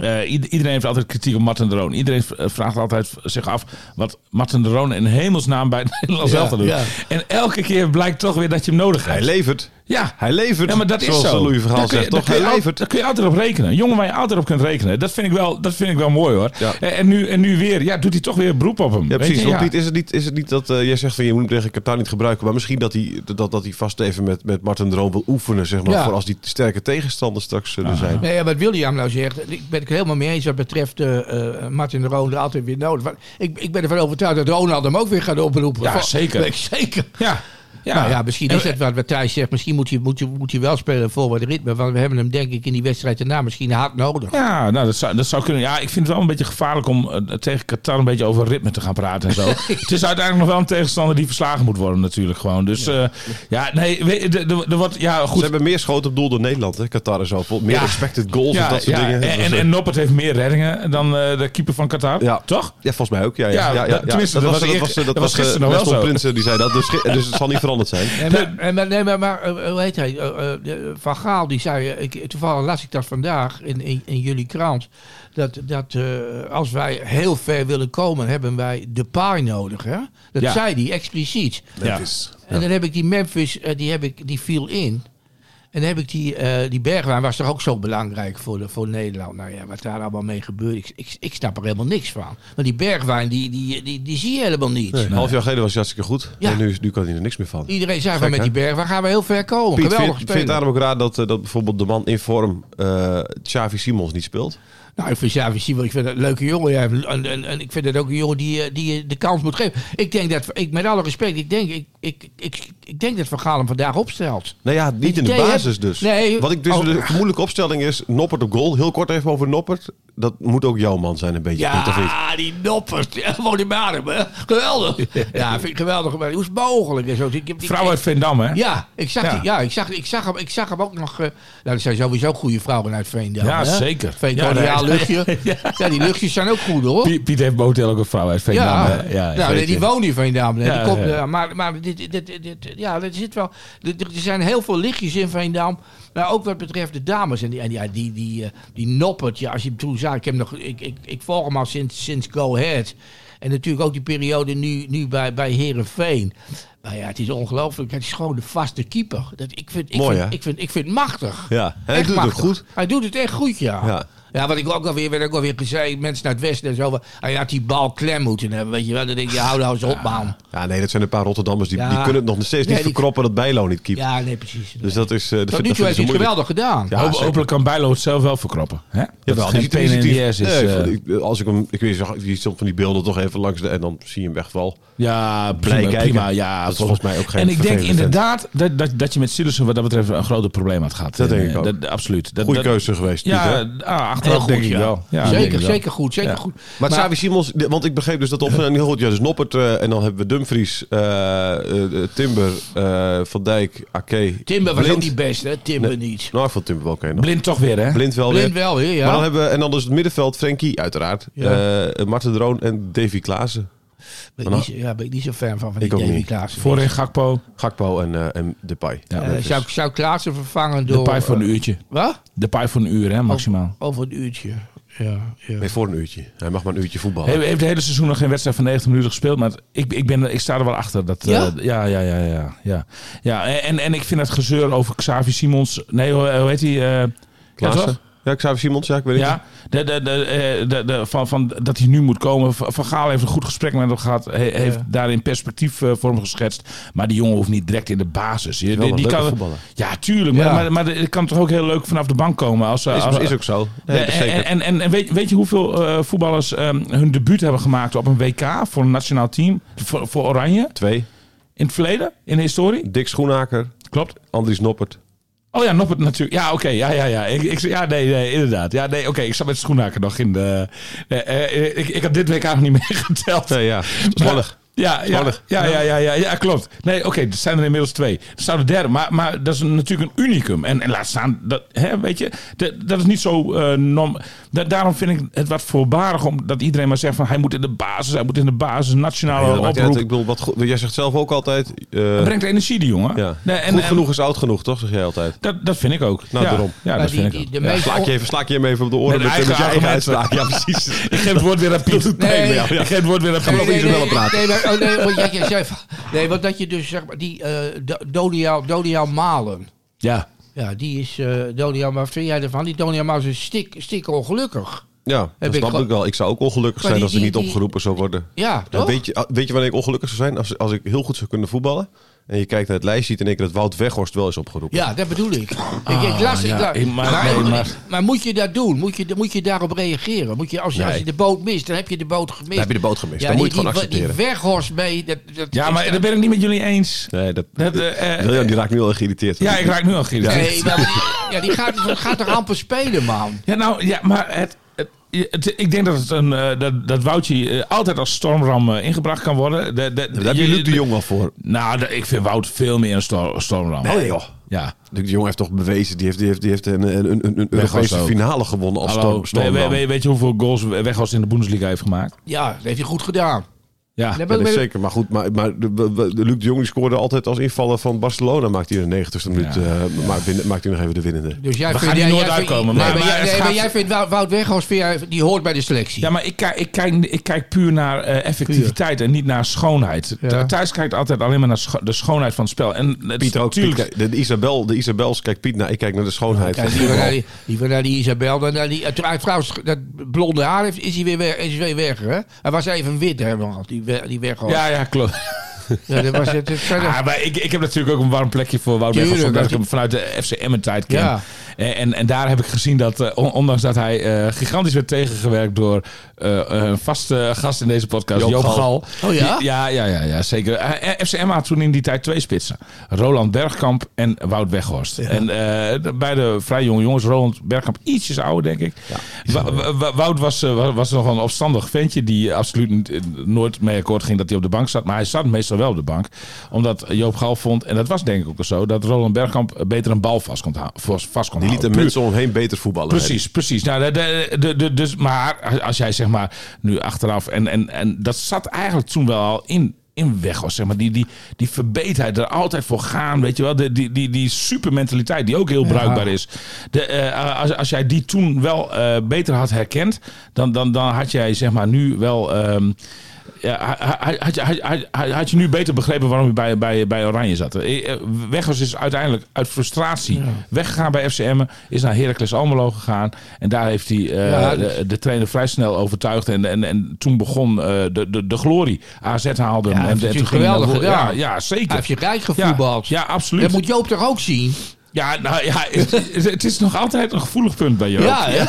Speaker 4: Eh, ied- iedereen heeft altijd kritiek op Martin de Roon. Iedereen v- eh, vraagt altijd v- zich af wat Martin de Roon in hemelsnaam bij het Nederlands
Speaker 3: Ja,
Speaker 4: elftal doet.
Speaker 3: ja.
Speaker 4: En elke keer blijkt toch weer dat je hem nodig
Speaker 2: Hij
Speaker 4: hebt.
Speaker 2: levert.
Speaker 4: ja.
Speaker 2: Hij levert.
Speaker 4: Ja, maar dat
Speaker 2: zoals
Speaker 4: is zo.
Speaker 2: de Louis
Speaker 4: Daar
Speaker 2: Verhaal
Speaker 4: kun je-
Speaker 2: zegt, toch?
Speaker 4: daar
Speaker 2: Hij
Speaker 4: kun je al-
Speaker 2: levert.
Speaker 4: Daar kun je altijd op rekenen. Een jongen waar je altijd op kunt rekenen. Dat vind ik wel, dat vind ik wel mooi hoor.
Speaker 2: Ja.
Speaker 4: Eh, En, nu, en nu weer, ja, doet hij toch weer beroep op hem.
Speaker 2: Ja,
Speaker 4: Weet
Speaker 2: precies.
Speaker 4: je?
Speaker 2: Want
Speaker 4: Ja.
Speaker 2: Piet, is het niet, is het niet dat eh, jij zegt van je moet hem tegen Qatar niet gebruiken, maar misschien dat hij, dat, dat hij vast even met, met Martin Droom wil oefenen, zeg maar,
Speaker 3: Ja.
Speaker 2: voor als die sterke tegenstanders straks zullen zijn.
Speaker 3: Nee, ja, wat William nou zegt, ik ben het helemaal mee eens wat betreft eh, eh, Martin de Roon er altijd weer nodig. Want Ik, ik ben ervan overtuigd dat Ronald hem ook weer gaat oproepen.
Speaker 4: Ja,
Speaker 3: Van-
Speaker 4: zeker.
Speaker 3: weet ik zeker.
Speaker 4: Ja. Ja.
Speaker 3: Nou ja, misschien
Speaker 4: En-
Speaker 3: is het wat wat Thijs zegt. Misschien moet je, moet, je, moet je wel spelen voor wat ritme. Want we hebben hem denk ik in die wedstrijd daarna misschien hard nodig.
Speaker 4: Ja, nou, dat, zou, dat zou kunnen. Ja, ik vind het wel een beetje gevaarlijk om eh, tegen Qatar een beetje over ritme te gaan praten en zo. het is uiteindelijk nog wel een tegenstander die verslagen moet worden natuurlijk gewoon. Dus eh, ja, nee, we- de- de- er wordt... Ja,
Speaker 2: Ze
Speaker 4: goed.
Speaker 2: hebben meer schoten op doel dan Nederland, hè? Qatar en zo. Vol- Meer
Speaker 4: Ja.
Speaker 2: expected goals
Speaker 4: ja,
Speaker 2: en dat soort
Speaker 4: ja,
Speaker 2: dingen. Dus, eh,
Speaker 4: En, en, en Noppert heeft meer reddingen dan eh, de keeper van Qatar.
Speaker 2: Ja.
Speaker 4: Toch?
Speaker 2: ja, volgens mij ook. Ja, ja,
Speaker 4: Ja,
Speaker 2: ja, ja,
Speaker 4: dat- tenminste, dat was
Speaker 2: eh,
Speaker 4: eer-
Speaker 2: eh,
Speaker 4: dat was
Speaker 2: eh,
Speaker 4: gisteren nog wel
Speaker 2: Weston
Speaker 4: zo.
Speaker 2: Prinsen die zei dat, dus, ge- dus het zal niet veranderd zijn.
Speaker 3: En
Speaker 4: De-
Speaker 3: maar, en maar- nee, maar, maar eh, hoe heet hij? Eh, eh, de- Van Gaal, die zei, eh, ik, toevallig las ik dat vandaag in, in, in jullie krant, dat, dat eh, als wij heel ver willen komen, hebben wij de paai nodig. Hè? Dat
Speaker 4: Ja.
Speaker 3: zei hij expliciet.
Speaker 4: Ja.
Speaker 3: En dan heb ik die Memphis, eh, die, heb ik, die viel in. En dan heb ik die, eh die Bergwijn, was toch ook zo belangrijk voor, de, voor Nederland. Nou ja, wat daar allemaal mee gebeurt, ik, ik, ik snap er helemaal niks van. Want die Bergwijn, die, die, die, die zie je helemaal niet.
Speaker 2: Een half jaar geleden was hij hartstikke goed.
Speaker 3: Ja.
Speaker 2: En nu, nu kan hij er niks meer van.
Speaker 3: Iedereen zei
Speaker 2: Gek,
Speaker 3: van met
Speaker 2: hè?
Speaker 3: die Bergwijn gaan we heel ver komen.
Speaker 2: Piet,
Speaker 3: Geweldig
Speaker 2: vind, vind je het
Speaker 3: spelen.
Speaker 2: daarom ook raar dat, eh, dat bijvoorbeeld de man in vorm eh Xavi Simons niet speelt?
Speaker 3: Nou, ik vind Xavi Simons, ik vind dat een leuke jongen. Ja. En, en, en ik vind dat ook een jongen die, je- die je de kans moet geven. Ik denk dat, ik, met alle respect, ik denk, ik, ik, ik, ik denk dat Van Gaal hem vandaag opstelt.
Speaker 2: Nou ja, niet in de
Speaker 3: Jij hebt-
Speaker 2: basis dus.
Speaker 3: Nee.
Speaker 2: Wat ik dus
Speaker 3: Oh.
Speaker 2: de vermoedelijke opstelling is, Noppert op goal. Heel kort even over Noppert. Dat moet ook jouw man zijn een beetje. Piet, of niet?
Speaker 3: Ja, die noppert. Ja, Gewoon in Marum, hè. Geweldig. Ja, vind ik geweldig. Maar Hoe is het mogelijk? En zo. Ik, ik-
Speaker 4: Vrouw uit Veendam, hè?
Speaker 3: Ja, ik zag,
Speaker 4: Ja.
Speaker 3: Die, ja ik, zag, ik, zag hem, ik zag hem ook nog... eh nou, er zijn sowieso goede vrouwen uit Veendam.
Speaker 4: Ja,
Speaker 3: hè?
Speaker 4: zeker.
Speaker 3: Veendam,
Speaker 4: Ja,
Speaker 3: ja,
Speaker 4: nee.
Speaker 3: luchtje. Ja. die luchtjes zijn ook goed, hoor.
Speaker 4: Piet, Piet heeft motel ook een vrouw uit Veendam.
Speaker 3: Ja,
Speaker 4: hè? ja
Speaker 3: nou, nee,
Speaker 4: zeker.
Speaker 3: die woont hier van Veendam. hè.
Speaker 4: Ja,
Speaker 3: die komt,
Speaker 4: ja.
Speaker 3: eh, maar maar dit, dit, dit, dit- ja, er, zit wel, er er zijn heel veel lichtjes in Veendam. Maar ook wat betreft de dames. En die, en ja, die, die, eh, die noppert, ja, als je hem toen zag. Ik, heb nog, ik, ik, ik volg hem al sinds, sinds Go Ahead. En natuurlijk ook die periode nu, nu bij, bij Herenveen. Nou ja, het is ongelooflijk. Het is gewoon de vaste keeper. Dat, ik, vind, ik,
Speaker 2: Mooi, hè?
Speaker 3: vind, ik, vind, ik vind het machtig.
Speaker 2: Ja, en hij
Speaker 3: Echt
Speaker 2: doet het
Speaker 3: machtig.
Speaker 2: goed.
Speaker 3: Hij doet het echt goed, ja.
Speaker 2: Ja.
Speaker 3: Ja, wat ik ook alweer, werd ook alweer gezegd, mensen naar het westen en zo. van, Hij had die bal klem moeten hebben, weet je wel. Dan denk je, hou nou eens op, man.
Speaker 2: Ja, nee, dat zijn een paar Rotterdammers. Die,
Speaker 3: Ja.
Speaker 2: die kunnen het nog steeds
Speaker 3: Nee,
Speaker 2: niet
Speaker 3: die-
Speaker 2: verkroppen dat Bijlo niet keept.
Speaker 3: Ja, nee, precies.
Speaker 2: Dus dat is...
Speaker 3: Tot nu
Speaker 2: eh, dat vind- dat
Speaker 3: toe
Speaker 2: vinden
Speaker 3: heeft
Speaker 2: ze
Speaker 3: hij het
Speaker 2: moeilijk.
Speaker 3: geweldig gedaan.
Speaker 2: Ja,
Speaker 4: Hoop-
Speaker 2: zeker.
Speaker 4: hopelijk kan Bijlo het zelf wel verkroppen. Hè?
Speaker 2: Ja,
Speaker 4: Dat het
Speaker 2: wel,
Speaker 4: geen
Speaker 2: die
Speaker 4: pain in
Speaker 2: initiatief-
Speaker 4: the ass is.
Speaker 2: Nee,
Speaker 4: eh.
Speaker 2: van- ik- als ik hem, ik weet niet, je ziet soms van die beelden toch even langs de en dan zie je hem echt wel.
Speaker 4: Ja,
Speaker 2: Blij
Speaker 4: prima,
Speaker 2: kijken.
Speaker 4: prima. Ja,
Speaker 2: Dat is volgens mij ook geen
Speaker 4: En ik denk
Speaker 2: vervelende vent.
Speaker 4: inderdaad dat, dat, dat je met Sillissen wat dat betreft een groter probleem had gehad.
Speaker 2: Dat
Speaker 4: En,
Speaker 2: denk
Speaker 4: eh,
Speaker 2: ik ook.
Speaker 4: Dat, absoluut. Dat,
Speaker 2: Goede
Speaker 4: dat-
Speaker 2: keuze geweest. Piet, hè?
Speaker 4: Ja, ah, achteraf
Speaker 3: Heel
Speaker 4: denk
Speaker 3: goed,
Speaker 4: ik
Speaker 3: ja.
Speaker 4: wel. Ja, denk ik
Speaker 3: zeker,
Speaker 4: wel.
Speaker 3: zeker goed, zeker
Speaker 4: Ja.
Speaker 3: goed.
Speaker 2: Maar, Xavi Simons, de- want ik begreep dus dat op en goed, ja, dus Noppert eh, en dan hebben we Dumfries, eh, eh, eh, Timber, eh, Van Dijk, Ake.
Speaker 3: Timber was
Speaker 2: Blind.
Speaker 3: ook niet best, hè? Timber
Speaker 2: Nee.
Speaker 3: niet.
Speaker 2: Nou, ik vond Timber wel oké nog.
Speaker 4: Blind toch weer, hè?
Speaker 2: Blind wel
Speaker 3: Blind
Speaker 2: weer.
Speaker 3: wel weer, ja.
Speaker 2: Maar dan hebben we, en dan dus het middenveld, Frenkie, uiteraard.
Speaker 3: Ja.
Speaker 2: eh, Marten Droon en Davy Klaassen.
Speaker 3: ben ik niet, zo- ja, ben ik niet zo fan van, van die
Speaker 2: Ik ook
Speaker 3: Davy
Speaker 2: niet.
Speaker 3: Klaassen.
Speaker 4: Voorin Gakpo.
Speaker 2: Gakpo en, eh en Depay.
Speaker 4: Ja,
Speaker 3: Eh,
Speaker 4: dat is-
Speaker 3: zou, ik- zou ik Klaassen vervangen
Speaker 4: de
Speaker 3: door...
Speaker 4: paai voor een
Speaker 3: eh,
Speaker 4: uurtje.
Speaker 3: Wat?
Speaker 4: De paai voor een uur, hè, maximaal.
Speaker 3: Over een uurtje. Ja, ja.
Speaker 2: Nee, voor een uurtje. Hij mag maar een uurtje
Speaker 3: Oh.
Speaker 2: voetballen.
Speaker 4: Hij heeft het hele seizoen nog geen wedstrijd van 90 minuten gespeeld. Maar ik, ik, ben, ik sta er wel achter. Dat, eh,
Speaker 3: Ja?
Speaker 4: ja, ja, ja, ja, ja. ja en, en ik vind het gezeur over Xavi Simons. Nee, hoe, hoe heet hij? eh, ja,
Speaker 2: Klaassen.
Speaker 4: toch?
Speaker 2: Ja, Xavi Simons, ja, ik weet het niet.
Speaker 4: Ja, de, de, de, eh, de, de, van, van, dat hij nu moet komen. Van van Gaal heeft een goed gesprek met hem gehad. Hij heeft daarin perspectief eh, voor hem geschetst. Maar die jongen hoeft niet direct in de basis. Die,
Speaker 2: wel een
Speaker 4: die
Speaker 2: leuke
Speaker 4: kan,
Speaker 2: voetballer.
Speaker 4: ja, tuurlijk.
Speaker 3: Ja.
Speaker 4: Maar, maar, maar het kan toch ook heel leuk vanaf de bank komen. Als, eh, als,
Speaker 2: Is, is ook zo. Nee,
Speaker 4: Ja,
Speaker 2: dat is zeker.
Speaker 4: en, en, en, en weet, weet je hoeveel eh, voetballers ehm, hun debuut hebben gemaakt op een WK voor een nationaal team? Voor, voor Oranje?
Speaker 2: Twee.
Speaker 4: In het verleden? In de historie?
Speaker 2: Dick Schoenaker,
Speaker 4: Klopt.
Speaker 2: Andries Noppert.
Speaker 4: Oh ja, Noppert natuurlijk. Ja, oké. ja, ja, ja. Ik, ik, ja, nee, nee, inderdaad. Ja, nee, oké. ik zat met schoenhaken nog in de... eh, eh, ik, ik had dit week eigenlijk niet meegeteld.
Speaker 2: Nee, ja. Spannend.
Speaker 4: Ja, ja,
Speaker 2: Spannend.
Speaker 4: ja, ja, ja, ja, ja, klopt. Nee, oké, er zijn er inmiddels twee. Er zou de derde, maar, maar dat is een- natuurlijk een unicum. En, en laat staan, dat, hè, weet je, dat, dat is niet zo eh, norm. Da- daarom vind ik het wat voorbarig om dat iedereen maar zegt van hij moet in de basis, hij moet in de basis, nationale
Speaker 2: Ja, dat maakt niet uit.
Speaker 4: Oh, oproep.
Speaker 2: ik bedoel, wat, go- jij zegt zelf ook altijd. eh,
Speaker 4: Dat brengt energie, die jongen.
Speaker 2: ja.
Speaker 4: Nee, en,
Speaker 2: Goed
Speaker 4: en
Speaker 2: genoeg is oud genoeg, toch? Zeg jij altijd.
Speaker 4: dat, dat vind ik ook.
Speaker 2: Nou,
Speaker 4: ja,
Speaker 2: daarom.
Speaker 4: Ja,
Speaker 3: Maar
Speaker 4: dat
Speaker 3: die-
Speaker 4: vind
Speaker 3: die-
Speaker 4: ik
Speaker 3: de
Speaker 4: ook. Ja.
Speaker 3: meest
Speaker 2: Slaak je, even, slaak je hem even op de oren
Speaker 4: Met
Speaker 2: met, met,
Speaker 4: eigen
Speaker 2: je eigen
Speaker 4: argumenten.
Speaker 2: uitspraak. Ja, precies.
Speaker 4: Ik geef het woord weer aan Piet.
Speaker 3: Nee.
Speaker 4: Ik geef het woord weer aan Piet.
Speaker 3: Nee, nee,
Speaker 2: ze
Speaker 3: nee,
Speaker 2: wel praten.
Speaker 3: nee, maar, oh, nee, want jij- jij zei van- nee, want dat je dus zeg maar die eh, Do- Dodiaal Dodiaal Malen.
Speaker 4: Ja.
Speaker 3: Ja, die is eh Dodiaal. Wat vind jij ervan? Die Dodiaal Malen is stik, stik ongelukkig.
Speaker 2: Ja, dat
Speaker 3: ik
Speaker 2: snap
Speaker 3: gewoon-
Speaker 2: ik wel. Ik zou ook ongelukkig
Speaker 3: Maar
Speaker 2: zijn
Speaker 3: die-
Speaker 2: als ik
Speaker 3: die-
Speaker 2: niet
Speaker 3: die-
Speaker 2: opgeroepen zou worden.
Speaker 3: Ja,
Speaker 2: Ja,
Speaker 3: toch?
Speaker 2: weet, je, ah, weet je wanneer ik ongelukkig zou zijn? Als, als ik heel goed zou kunnen voetballen. En je kijkt naar het lijstje, ziet en ik dat Wout Weghorst wel is opgeroepen.
Speaker 3: Ja, dat bedoel ik.
Speaker 2: Ah,
Speaker 3: ik, ik las,
Speaker 4: ja,
Speaker 3: ik las-
Speaker 4: ik- maar- nee, maar-
Speaker 3: maar moet je dat doen? Moet je, moet je daarop reageren? Moet je, als, je- als je
Speaker 2: Nee.
Speaker 3: de boot mist, dan heb je de boot gemist.
Speaker 2: Dan heb je de boot gemist.
Speaker 3: Ja,
Speaker 2: Dan
Speaker 3: die-
Speaker 2: moet je het gewoon
Speaker 3: die-
Speaker 2: accepteren.
Speaker 3: Die weghorst mee. Dat, dat
Speaker 4: ja, maar daar ben ik niet met jullie eens.
Speaker 2: Nee, dat,
Speaker 4: Dat, eh, eh,
Speaker 2: William, die raakt nu al geïrriteerd.
Speaker 4: Ja, ik raak nu al geïrriteerd.
Speaker 3: Nee, maar die, ja, die gaat, gaat er amper spelen, man.
Speaker 4: Ja, nou, ja, maar het, het- het- ik denk dat, het een, eh, dat, dat Woutje eh, altijd als stormram eh, ingebracht kan worden. De, de,
Speaker 2: Daar heb je Luc de Jong wel voor.
Speaker 4: Nou, de- ik vind Wout veel meer een stor- stormram.
Speaker 2: Nee, joh.
Speaker 4: Ja.
Speaker 2: Luc de Jong heeft toch bewezen, die heeft, die heeft, die heeft een, een, een, een Europese
Speaker 4: ook.
Speaker 2: finale gewonnen als
Speaker 4: Hallo,
Speaker 2: storm, stormram.
Speaker 4: we- we- we- weet je hoeveel goals Weghorst in de Bundesliga heeft gemaakt?
Speaker 3: Ja, dat heeft hij goed gedaan.
Speaker 4: Ja.
Speaker 3: Nee,
Speaker 2: Ja, dat is
Speaker 3: maar-
Speaker 2: zeker. Maar goed, maar, maar de, de- de Luc de Jong die scoorde altijd als invaller van Barcelona. Maakt hij in de 90ste minuut, eh maar binnen- maakt hij nog even de winnende.
Speaker 3: Dus jij
Speaker 4: We
Speaker 3: vindt-
Speaker 4: gaan hier
Speaker 3: jij-
Speaker 4: nooit
Speaker 3: jij vindt-
Speaker 4: uitkomen,
Speaker 3: Nee,
Speaker 4: maar- maar
Speaker 3: jij-
Speaker 4: het
Speaker 3: nee, maar
Speaker 4: gaat-
Speaker 3: jij vindt Wout- Wout Weghorst, vind jij- die hoort bij de selectie.
Speaker 4: Ja, maar ik kijk, ik, kijk, ik kijk puur naar eh, effectiviteit en niet naar schoonheid.
Speaker 3: Ja.
Speaker 4: Thijs kijkt altijd alleen maar naar scho- de schoonheid van het spel. En het,
Speaker 2: Piet ook. Piet,
Speaker 4: tuurlijk-
Speaker 2: kijkt- de, de Isabel, de Isabels kijkt Piet naar. Ik kijk naar de schoonheid.
Speaker 3: Kijk,
Speaker 2: van
Speaker 3: liever
Speaker 2: voetbal.
Speaker 3: naar die, liever naar die Isabel dan naar die... eh, trouw- Trouwens, dat blonde haar heeft, is hij weer weg. Is weer weg hè? Hij was even wit, hè, nog, die, we- die Weghorst.
Speaker 4: ja, ja, klopt.
Speaker 3: Ja, dat was het. het-
Speaker 4: Ah, maar ik, ik heb natuurlijk ook een warm plekje voor Wout
Speaker 3: Tuurlijk,
Speaker 4: Weghorst.
Speaker 3: dat
Speaker 4: Omdat ik hem vanuit de FC Emmen tijd ken.
Speaker 3: Ja.
Speaker 4: En, en, en daar heb ik gezien dat, eh, on- ondanks dat hij eh, gigantisch werd tegengewerkt door eh, een vaste gast in deze podcast,
Speaker 2: Joop
Speaker 4: Joop,
Speaker 2: Gal.
Speaker 4: Gal.
Speaker 3: Oh ja?
Speaker 4: Die- ja? Ja, ja, ja, zeker. Eh, FC Emmen had toen in die tijd twee spitsen. Roland Bergkamp en Wout Weghorst. En eh, de- beide vrij jonge jongens. Roland Bergkamp ietsjes ouder, denk ik. Wa- wa- wa- Wout was, eh, wa- was nog wel een opstandig ventje die absoluut niet- eh, nooit mee akkoord ging dat hij op de bank zat. Maar hij zat meestal wel op de bank. Omdat Joop Gal vond, en dat was denk ik ook zo, dat Roland Bergkamp beter een bal vast kon, hou- vast vast kon
Speaker 2: Die liet de
Speaker 4: houden. Puur-
Speaker 2: mensen om hem heen beter voetballen.
Speaker 4: Precies, precies. Nou, de, de, de- de- dus, maar als jij zeg maar nu achteraf. En, en, en dat zat eigenlijk toen wel al in, in weg. Was, zeg maar. die, die, die verbeterheid, er altijd voor gaan. Weet je wel, de, die, die, die supermentaliteit die ook heel bruikbaar is. De, eh, als, als jij die toen wel eh, beter had herkend, dan, dan, dan had jij zeg maar nu wel. ehm, ja, had, had, je- had, had, had je nu beter begrepen waarom je bij, bij, bij Oranje zat. Eh, eh, Weghorst is uiteindelijk uit frustratie weggegaan bij FCM. Is naar Heracles Almelo gegaan. En daar heeft hij eh,
Speaker 3: Ja, dus- dat-
Speaker 4: de, de trainer vrij snel overtuigd. En, en, en toen begon eh, de, de, de glorie. AZ haalde hem.
Speaker 3: hij
Speaker 4: en,
Speaker 3: heeft
Speaker 4: en toen
Speaker 3: natuurlijk
Speaker 4: ging hij naar
Speaker 3: geweldig
Speaker 4: Wo- ja,
Speaker 3: gedaan.
Speaker 4: ja, zeker.
Speaker 3: Hij heeft je rijk gevoetbald.
Speaker 4: Ja, ja, absoluut.
Speaker 3: Dat moet Joop toch ook zien?
Speaker 4: Ja, nou ja, het, het is nog altijd een gevoelig punt bij jou.
Speaker 3: Ja, hè?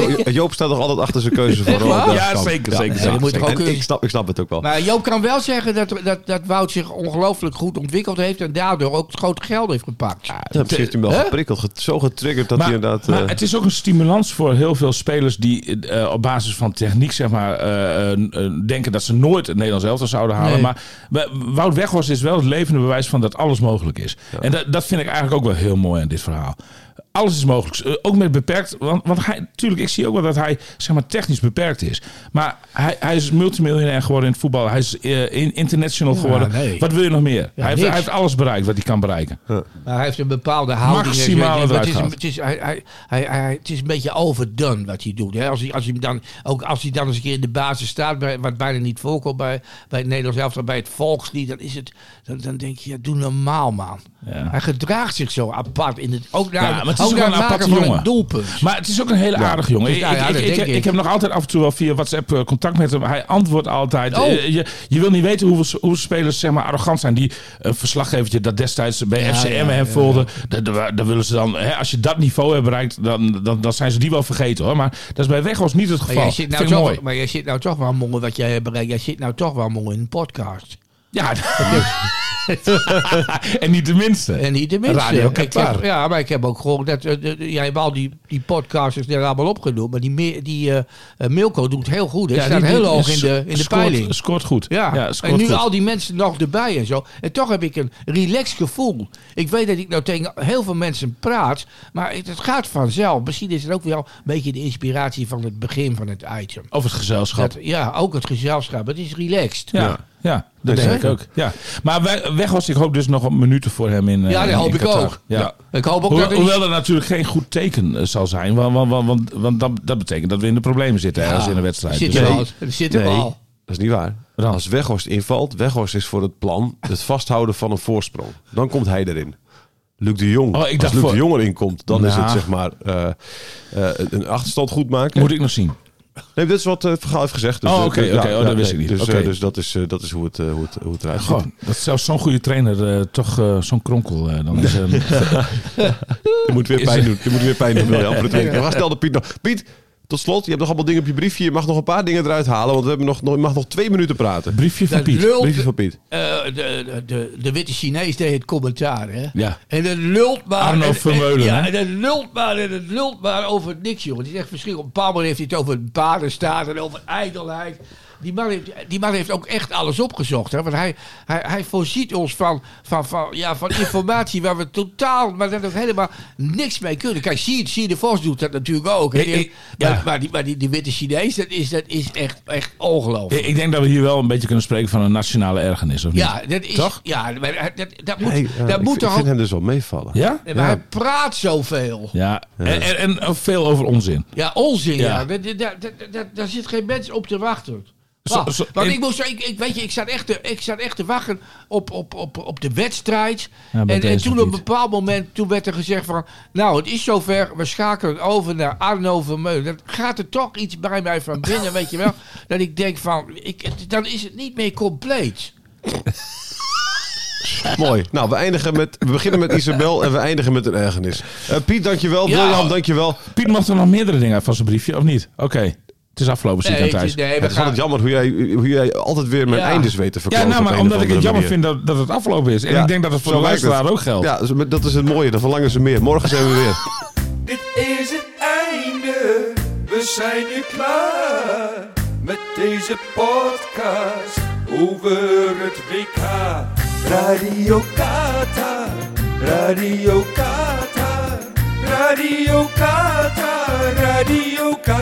Speaker 2: Jo- Joop staat nog altijd achter zijn keuze van
Speaker 3: Echt
Speaker 2: Ronald
Speaker 3: waar?
Speaker 2: Bergkamp.
Speaker 4: Ja, zeker, zeker,
Speaker 2: ja,
Speaker 4: zeker.
Speaker 3: Je moet toch ook
Speaker 2: En
Speaker 3: een-
Speaker 2: ik, snap, ik snap het ook wel.
Speaker 3: Maar Joop kan wel zeggen dat, dat, dat Wout zich ongelooflijk goed ontwikkeld heeft en daardoor ook het grote geld heeft gepakt.
Speaker 2: Ja, precies heeft hij hem wel
Speaker 3: Hè?
Speaker 2: geprikkeld. ge- Zo getriggerd dat hij inderdaad...
Speaker 4: maar
Speaker 2: eh,
Speaker 4: het is ook een stimulans voor heel veel spelers die eh, op basis van techniek zeg maar, eh, eh, eh, denken dat ze nooit het Nederlands elftal zouden halen.
Speaker 3: Nee.
Speaker 4: Maar we- Wout Weghorst is wel het levende bewijs van dat alles mogelijk is. En dat, dat vind ik eigenlijk ook wel heel mooi aan dit verhaal. Alles is mogelijk. Eh, Ook met beperkt. Want, want hij, natuurlijk, ik zie ook wel dat hij zeg maar, technisch beperkt is. Maar hij, hij is multimiljonair geworden in het voetbal. Hij is eh, in- international geworden.
Speaker 3: nee.
Speaker 4: Wat wil je nog meer? hij, heeft,
Speaker 3: niks.
Speaker 4: hij heeft alles bereikt wat hij kan bereiken.
Speaker 3: Maar hij heeft een bepaalde houding.
Speaker 4: Maximale
Speaker 3: Maar het is,
Speaker 4: eruit
Speaker 3: het, is, hij, hij, hij, hij- het is een beetje overdone wat hij doet. Hè? Als, hij, als, hij hem dan, ook als hij dan eens een keer in de basis staat, bij, wat bijna niet voorkomt bij, bij het Nederlands elftal, bij het volkslied, dan, is het, dan, dan denk je, ja, doe normaal man.
Speaker 4: Ja.
Speaker 3: Hij gedraagt zich zo apart. In het, ook naar,
Speaker 4: Ja, maar het is
Speaker 3: ook
Speaker 4: ook
Speaker 3: naar
Speaker 4: wel een
Speaker 3: het maken
Speaker 4: aparte
Speaker 3: van
Speaker 4: jongen.
Speaker 3: een doelpunt.
Speaker 4: Maar het is ook een hele aardige jongen.
Speaker 3: Dus
Speaker 4: Ik-
Speaker 3: nou ja,
Speaker 4: ik,
Speaker 3: dat
Speaker 4: ik,
Speaker 3: denk
Speaker 4: ik,
Speaker 3: ik.
Speaker 4: ik heb nog altijd af en toe wel via WhatsApp eh, contact met hem. Hij antwoordt altijd.
Speaker 3: Oh.
Speaker 4: Eh, Je, je wil niet weten hoeveel, hoeveel spelers zeg maar, arrogant zijn. Die een verslaggevertje dat destijds bij
Speaker 3: Ja,
Speaker 4: FCM
Speaker 3: ja,
Speaker 4: hem
Speaker 3: ja,
Speaker 4: volgde. dat- dat- dat willen ze dan, hè, als je dat niveau hebt bereikt, dan, dan, dan zijn ze die wel vergeten hoor. Maar dat is bij Weghorst niet het
Speaker 3: Maar
Speaker 4: geval.
Speaker 3: jij, zit nou
Speaker 4: Vind ik mooi.
Speaker 3: toch, maar jij zit nou toch wel morgen wat jij hebt bereikt. Jij zit nou toch wel morgen in een podcast.
Speaker 4: Ja, en niet de minste.
Speaker 3: En niet de minste.
Speaker 4: Radio
Speaker 3: Ik heb-
Speaker 4: Qatar.
Speaker 3: ja, maar ik heb ook gehoord dat... eh, de- de- jij hebt al die, die podcasters er allemaal opgenoemd. Maar die, me- die eh, eh, Milko doet heel goed. Hij staat
Speaker 4: die-
Speaker 3: heel
Speaker 4: die-
Speaker 3: hoog in
Speaker 4: sco-
Speaker 3: de, in de
Speaker 4: scoort-
Speaker 3: peiling.
Speaker 4: Scoort goed.
Speaker 3: Ja,
Speaker 4: scoort
Speaker 3: en nu
Speaker 4: goed.
Speaker 3: al die mensen nog erbij en zo. En toch heb ik een relaxed gevoel. Ik weet dat ik nou tegen heel veel mensen praat, maar het, het gaat vanzelf. Misschien is het ook wel een beetje de inspiratie van het begin van het item.
Speaker 4: Of het gezelschap.
Speaker 3: Dat, ja, ook het gezelschap. Het is relaxed.
Speaker 4: Ja, ja
Speaker 3: Nee,
Speaker 4: dat denk ik
Speaker 3: zeker.
Speaker 4: ook. Ja. Maar we- weg was ik hoop dus nog wat minuten voor hem in eh,
Speaker 3: Ja, dat
Speaker 4: in
Speaker 3: hoop ik
Speaker 4: Qatar.
Speaker 3: ook.
Speaker 4: Ja.
Speaker 3: Ik hoop ook
Speaker 4: Hoewel,
Speaker 3: dat...
Speaker 4: hoewel dat natuurlijk geen goed teken eh, zal zijn. Want, want, want, want, want dat, dat betekent dat we in de problemen zitten ergens in de wedstrijd.
Speaker 3: Zit
Speaker 4: Dus-
Speaker 3: er
Speaker 2: Nee.
Speaker 3: al. Er Zit er
Speaker 2: nee,
Speaker 3: al.
Speaker 2: dat is niet waar.
Speaker 4: Dan.
Speaker 2: Als Weghorst invalt, Weghorst is voor het plan het vasthouden van een voorsprong. Dan komt hij erin. Luc de Jong.
Speaker 4: Oh, ik dacht
Speaker 2: Als Luc
Speaker 4: voor-
Speaker 2: de Jong erin komt, dan is
Speaker 4: Nou.
Speaker 2: het zeg maar eh, eh, een achterstand goed maken.
Speaker 4: Moet ik nog zien.
Speaker 2: Nee, dit is wat eh Vergaal heeft gezegd.
Speaker 4: Oh,
Speaker 2: eh,
Speaker 4: oké, oké. Oh, dat wist ik niet.
Speaker 2: Dus, eh,
Speaker 4: Oké.
Speaker 2: dus dat is, eh, dat is hoe, het, eh, hoe, het, hoe het eruit ziet.
Speaker 4: Goh, dat zelfs zo'n goede trainer eh, toch eh, zo'n kronkel eh, dan is. eh,
Speaker 2: Je moet weer pijn doen. Je moet weer pijn doen, William. Voor de tweede keer. Maar stel dat Piet nog... Piet, tot slot, je hebt nog allemaal dingen op je briefje. Je mag nog een paar dingen eruit halen, want we hebben nog, nog, je mag nog twee minuten praten.
Speaker 4: briefje van
Speaker 3: Dat
Speaker 4: Piet.
Speaker 3: lult-
Speaker 2: Briefje van Piet.
Speaker 3: Eh, de, de, de witte Chinees deed het commentaar, hè?
Speaker 4: Ja.
Speaker 3: En dat lult maar.
Speaker 4: Arno
Speaker 3: en- en-
Speaker 4: Vermeulen,
Speaker 3: Ja,
Speaker 4: hè?
Speaker 3: en dat lult maar en dat lult maar over niks, jongen. Het is echt verschrikkelijk. Op een bepaald moment heeft hij het over badenstaat en over ijdelheid. Die man, heeft, die man heeft ook echt alles opgezocht. Hè? Want hij, hij, hij voorziet ons van, van, van, ja, van informatie waar we totaal, maar dat ook helemaal niks mee kunnen. Kijk, zie, zie de Vos doet dat natuurlijk ook. hè?
Speaker 4: Ik- ik-
Speaker 3: maar
Speaker 4: ja.
Speaker 3: maar, die, maar die, die witte Chinees, dat is, dat is echt, echt ongelooflijk.
Speaker 4: Ik, ik denk dat we hier wel een beetje kunnen spreken van een nationale ergernis, of niet?
Speaker 3: Ja, dat is.
Speaker 4: Toch?
Speaker 3: Ja, maar dat, dat moet,
Speaker 2: Hey, eh,
Speaker 3: dat
Speaker 2: ik,
Speaker 3: moet
Speaker 2: ik
Speaker 3: toch
Speaker 2: vind
Speaker 3: ook.
Speaker 2: hem dus wel meevallen.
Speaker 4: Ja?
Speaker 3: Maar hij praat zoveel.
Speaker 4: Ja. En, en, en veel over onzin.
Speaker 3: Ja, onzin.
Speaker 4: Ja.
Speaker 3: Ja. Dat- dat- dat- dat- dat- Daar zit geen mens op te wachten.
Speaker 4: Zo-
Speaker 3: Wacht,
Speaker 4: zo-
Speaker 3: want
Speaker 4: in-
Speaker 3: ik moest, ik, ik, weet je, ik zat echt te, ik zat echt te wachten op, op, op, op de wedstrijd.
Speaker 4: Ja, bij
Speaker 3: en, en
Speaker 4: deze
Speaker 3: toen
Speaker 4: nog
Speaker 3: op een
Speaker 4: niet.
Speaker 3: bepaald moment, toen werd er gezegd van, nou het is zover, we schakelen over naar Arno Vermeulen. Dan gaat er toch iets bij mij van binnen, weet je wel. Dat ik denk van, ik, het- dan is het niet meer compleet.
Speaker 2: Mooi. Nou, we, eindigen met, we beginnen met Isabel en we eindigen met een ergernis. Eh, Piet, dankjewel.
Speaker 3: Ja.
Speaker 2: William, dankjewel.
Speaker 4: Piet mag er nog meerdere dingen uit van zijn briefje, of niet? Oké. Het is afgelopen, zie ik aan
Speaker 3: Nee,
Speaker 4: thuis.
Speaker 3: het- nee, we
Speaker 2: Het is altijd
Speaker 3: gaan,
Speaker 2: jammer hoe jij, hoe jij altijd weer mijn
Speaker 3: Ja.
Speaker 2: eindes weet te
Speaker 4: Ja,
Speaker 2: verkopen.
Speaker 4: nou, maar omdat ik het jammer vind dat, dat het afgelopen is. En ik denk dat het voor de luisteraar ook geldt.
Speaker 2: Ja, zo- dat is het mooie. Dan verlangen ze meer. Morgen zijn we weer.
Speaker 1: Dit is het einde, we zijn nu klaar met deze podcast over het WK. Radio Qatar, Radio Qatar, Radio Qatar, Radio Qatar.